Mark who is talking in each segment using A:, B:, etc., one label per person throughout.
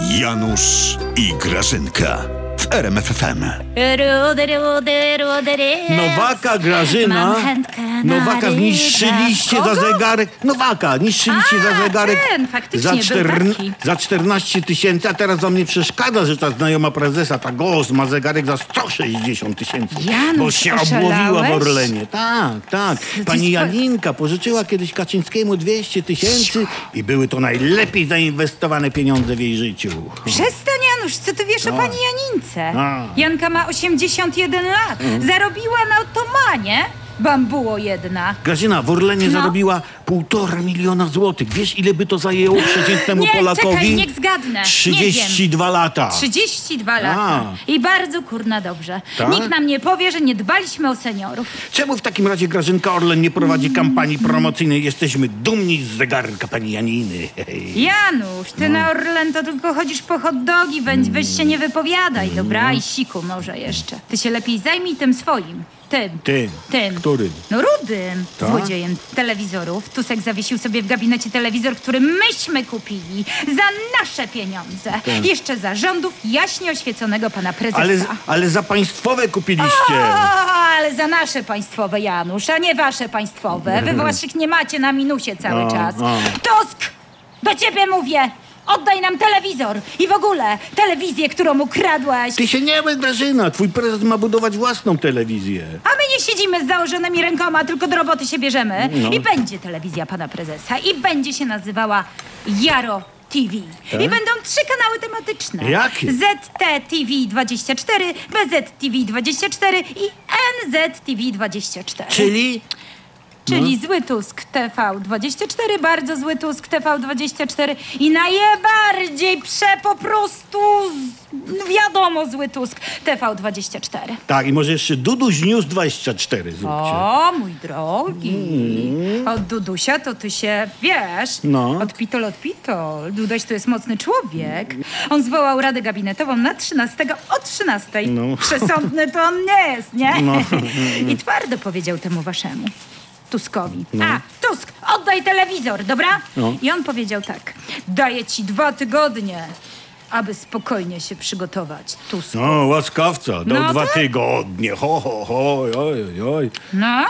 A: Janusz i Grażynka w RMFFM.
B: Rudy, rudy, rudy, res.
C: Nowaka Grażyna.
B: Mam chętkę na
C: Nowaka
B: rybę.
C: zniszczyliście za
B: Kogo?
C: zegarek. Nowaka, niszczyliście
B: A,
C: za zegarek.
B: ten, faktycznie,
C: za,
B: był taki.
C: za 14 tysięcy, a teraz wam nie przeszkadza, że ta znajoma prezesa, ta goz ma zegarek za 160 tysięcy.
B: Janusz,
C: Bo się obłowiła w
B: oszalałeś?
C: Orlenie. Tak, tak. Pani
B: spo-
C: Janinka pożyczyła kiedyś Kaczyńskiemu 200 tysięcy i były to najlepiej zainwestowane pieniądze w jej życiu.
D: Przestań, Janusz, co ty wiesz o pani Janince?
C: No. A. Mm.
D: Janka ma 81 lat. Zarobiła na otomanie. Bambuło jedna.
C: Grażyna, w Orlenie
D: No.
C: zarobiła półtora miliona złotych. Wiesz, ile by to zajęło przeciętnemu
D: Nie,
C: Polakowi?
D: czekaj, niech zgadnę.
C: 32 lata.
D: 32 lata. I bardzo kurna dobrze.
C: Tak?
D: Nikt nam nie powie, że nie dbaliśmy o seniorów.
C: Czemu w takim razie Grażynka Orlen nie prowadzi
D: Mm.
C: kampanii promocyjnej? Jesteśmy dumni z zegarka pani Janiny. Hej.
D: Janusz, ty
C: No.
D: na Orlen to tylko chodzisz po hot dogi, weź, weź się nie wypowiadaj,
C: No.
D: dobra? I siku może jeszcze. Ty się lepiej zajmij tym swoim. Tym.
C: Tym.
D: Tym.
C: Którym?
D: No rudym.
C: Tak?
D: Złodziejem telewizorów. Tusek zawiesił sobie w gabinecie telewizor, który myśmy kupili. Za nasze pieniądze. Jeszcze za rządów jaśnie oświeconego pana prezesa.
C: Tak. Ale, ale za państwowe kupiliście.
D: O, ale za nasze państwowe, Janusz, a nie wasze państwowe. Wy waszych nie macie na minusie cały
C: No,
D: czas.
C: no.
D: Tusk! Do ciebie mówię! Oddaj nam telewizor i w ogóle telewizję, którą ukradłeś.
C: Ty się nie bój, Grażyna. Twój prezes ma budować własną telewizję.
D: A my nie siedzimy z założonymi rękoma, tylko do roboty się bierzemy.
C: No.
D: I będzie telewizja pana prezesa i będzie się nazywała Jaro TV.
C: Tak?
D: I będą trzy kanały tematyczne.
C: Jakie?
D: ZT TV 24, BZ TV 24 i NZ TV 24.
C: Czyli?
D: Czyli zły Tusk TV24, bardzo zły Tusk TV24 i najbardziej prze po prostu, z, no wiadomo, zły Tusk TV24.
C: Tak, i może jeszcze Duduś News 24 zróbcie.
D: O, mój drogi. Od Dudusia to ty się, wiesz,
C: Mm. No.
D: od pitol od pitol. Duduś to jest mocny człowiek. On zwołał radę gabinetową na 13 o 13.
C: No.
D: Przesądny to on nie jest, nie?
C: No.
D: I twardo powiedział temu waszemu. Tuskowi. A, Tusk, oddaj telewizor, dobra?
C: No.
D: I on powiedział tak. Daję ci dwa tygodnie, aby spokojnie się przygotować, Tusk.
C: No, łaskawca. Dał
D: No
C: dwa
D: tak.
C: tygodnie. Ho, ho, ho. Oj, oj, oj.
D: No?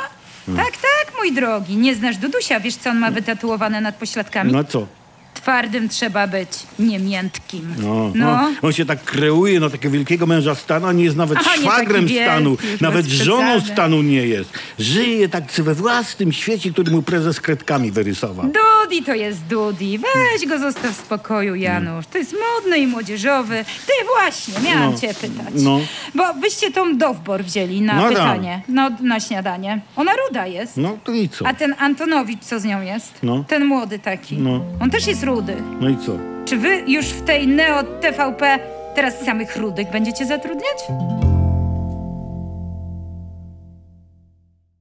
D: Tak, tak, mój drogi. Nie znasz Dudusia, wiesz co on ma wytatuowane nad pośladkami?
C: No co?
D: Twardym trzeba być, nie miętkim.
C: No, no. On się tak kreuje na takiego wielkiego męża stanu, a nie jest nawet
D: Aha, nie
C: szwagrem
D: taki wielki,
C: stanu,
D: już bez
C: nawet żoną
D: przesady.
C: stanu nie jest. Żyje tak we własnym świecie, który mu prezes kredkami
D: No.
C: wyrysował.
D: Dudi to jest Dudi. Weź go zostaw w spokoju, Janusz. To jest modny i młodzieżowy. Ty właśnie, miałam
C: No.
D: cię pytać.
C: No.
D: Bo wyście tą Dowbor wzięli na
C: No tak.
D: pytanie. No, na śniadanie. Ona ruda jest.
C: No to i co?
D: A ten Antonowicz, co z nią jest?
C: No.
D: Ten młody taki.
C: No.
D: On też jest rudy.
C: No i co?
D: Czy wy już w tej Neo TVP teraz samych rudych będziecie zatrudniać?